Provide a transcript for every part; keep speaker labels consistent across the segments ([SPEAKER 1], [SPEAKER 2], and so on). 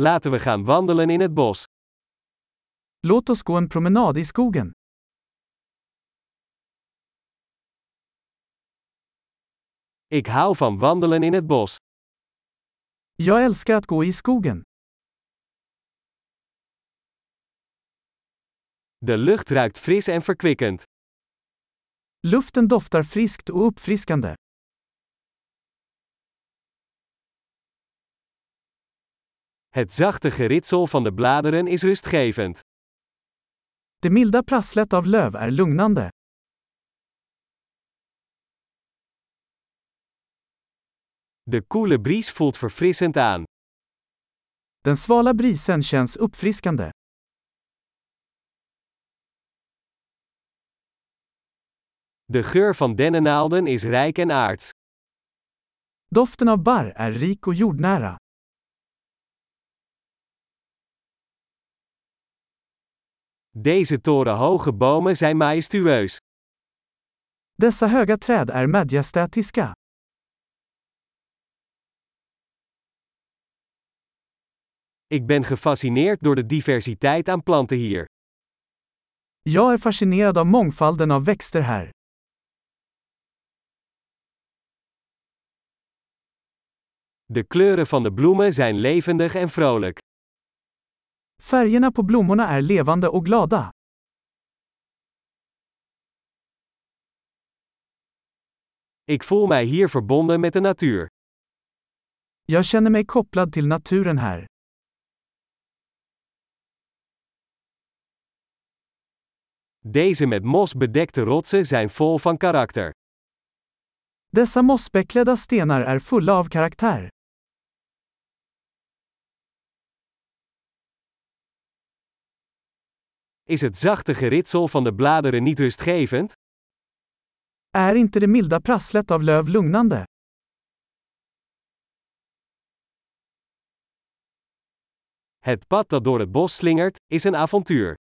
[SPEAKER 1] Laten we gaan wandelen in het bos.
[SPEAKER 2] Låt oss gå en promenad i skogen.
[SPEAKER 1] Ik hou van wandelen in het bos.
[SPEAKER 2] Jag älskar att gå i skogen.
[SPEAKER 1] De lucht ruikt fris en verkwikkend.
[SPEAKER 2] Luften doftar friskt och uppfriskande.
[SPEAKER 1] Het zachte geritsel van de bladeren is rustgevend.
[SPEAKER 2] Det milda prasslet av löv är lugnande.
[SPEAKER 1] De koele bries voelt verfrissend aan.
[SPEAKER 2] Den svala brisen känns uppfriskande.
[SPEAKER 1] De geur van dennennaalden is rijk en aards.
[SPEAKER 2] Doften av barr är rik och jordnära.
[SPEAKER 1] Deze torenhoge bomen zijn majestueus.
[SPEAKER 2] Dessa höga träd är majestätiska.
[SPEAKER 1] Ik ben gefascineerd door de diversiteit aan planten hier.
[SPEAKER 2] Jag är fascinerad av mångfalden av växter här.
[SPEAKER 1] De kleuren van de bloemen zijn levendig en vrolijk.
[SPEAKER 2] Färgerna på blommorna är levande och glada.
[SPEAKER 1] Ik voel mij hier verbonden met de natuur.
[SPEAKER 2] Jag känner mig kopplad till naturen här.
[SPEAKER 1] Deze met mos bedekte rotsen zijn vol van karakter.
[SPEAKER 2] Dessa mossbeklädda stenar är fulla av karaktär.
[SPEAKER 1] Is het zachte geritsel van de bladeren niet rustgevend?
[SPEAKER 2] Är inte det milda prasslet av löv lugnande?
[SPEAKER 1] Het pad dat door het bos slingert, is een avontuur.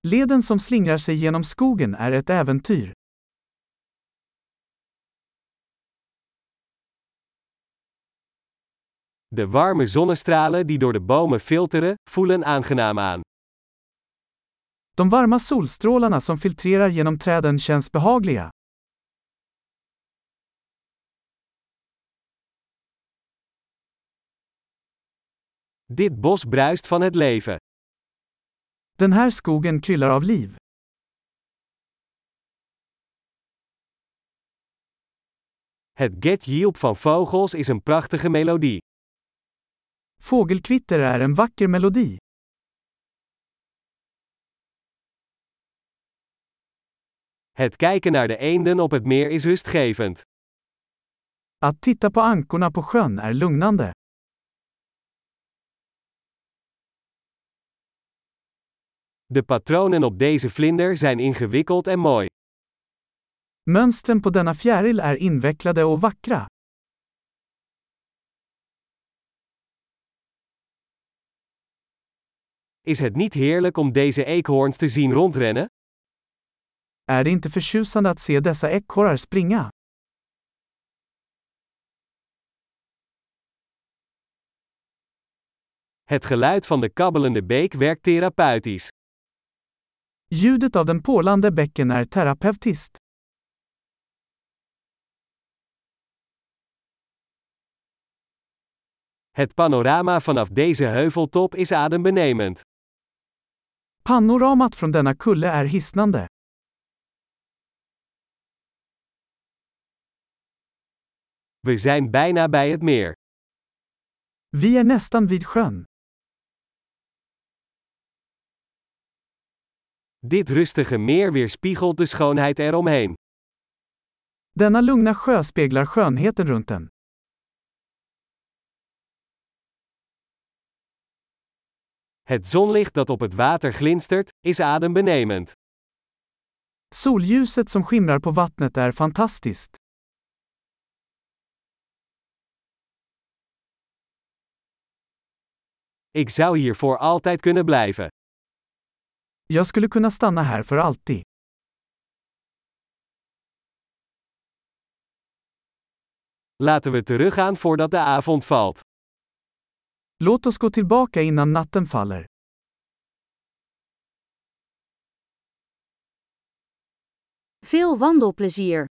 [SPEAKER 2] Leden som slingrar sig genom skogen är ett äventyr.
[SPEAKER 1] De warme zonnestralen die door de bomen filteren, voelen aangenaam aan.
[SPEAKER 2] De varma solstrålarna som filtrerar genom träden känns behagliga.
[SPEAKER 1] Dit bos bruist van het leven.
[SPEAKER 2] Den här skogen kryllar av liv.
[SPEAKER 1] Het getjilp van vogels is een prachtige melodie.
[SPEAKER 2] Fågelkvitter är en vacker melodi.
[SPEAKER 1] Het kijken naar de eenden op het meer is rustgevend.
[SPEAKER 2] Att titta på ankorna på sjön är lugnande.
[SPEAKER 1] De patronen op deze vlinder zijn ingewikkeld en mooi.
[SPEAKER 2] Mönstren på denna fjäril är invecklade och vackra.
[SPEAKER 1] Is het niet heerlijk om deze eekhoorns te zien rondrennen?
[SPEAKER 2] Är det inte förtjusande att se dessa ekorrar springa?
[SPEAKER 1] Het geluid van de kabbelende beek werkt therapeutisch.
[SPEAKER 2] Ljudet av den porlande bäcken är terapeutiskt.
[SPEAKER 1] Het panorama vanaf deze heuveltop is adembenemend.
[SPEAKER 2] Panoramat från denna kulle är hisnande.
[SPEAKER 1] We zijn bijna bij het meer.
[SPEAKER 2] Vi är nästan vid sjön.
[SPEAKER 1] Dit rustige meer weerspiegelt de schoonheid eromheen.
[SPEAKER 2] Denna lugna sjö speglar skönheten runt den.
[SPEAKER 1] Het zonlicht dat op het water glinstert, is adembenemend.
[SPEAKER 2] Solljuset som skimrar på vattnet är fantastiskt.
[SPEAKER 1] Ik zou hier voor altijd kunnen blijven.
[SPEAKER 2] Jag skulle kunna stanna här för alltid.
[SPEAKER 1] Laten we teruggaan voordat de avond valt.
[SPEAKER 2] Låt oss gå tillbaka innan natten faller.
[SPEAKER 3] Veel wandelplezier!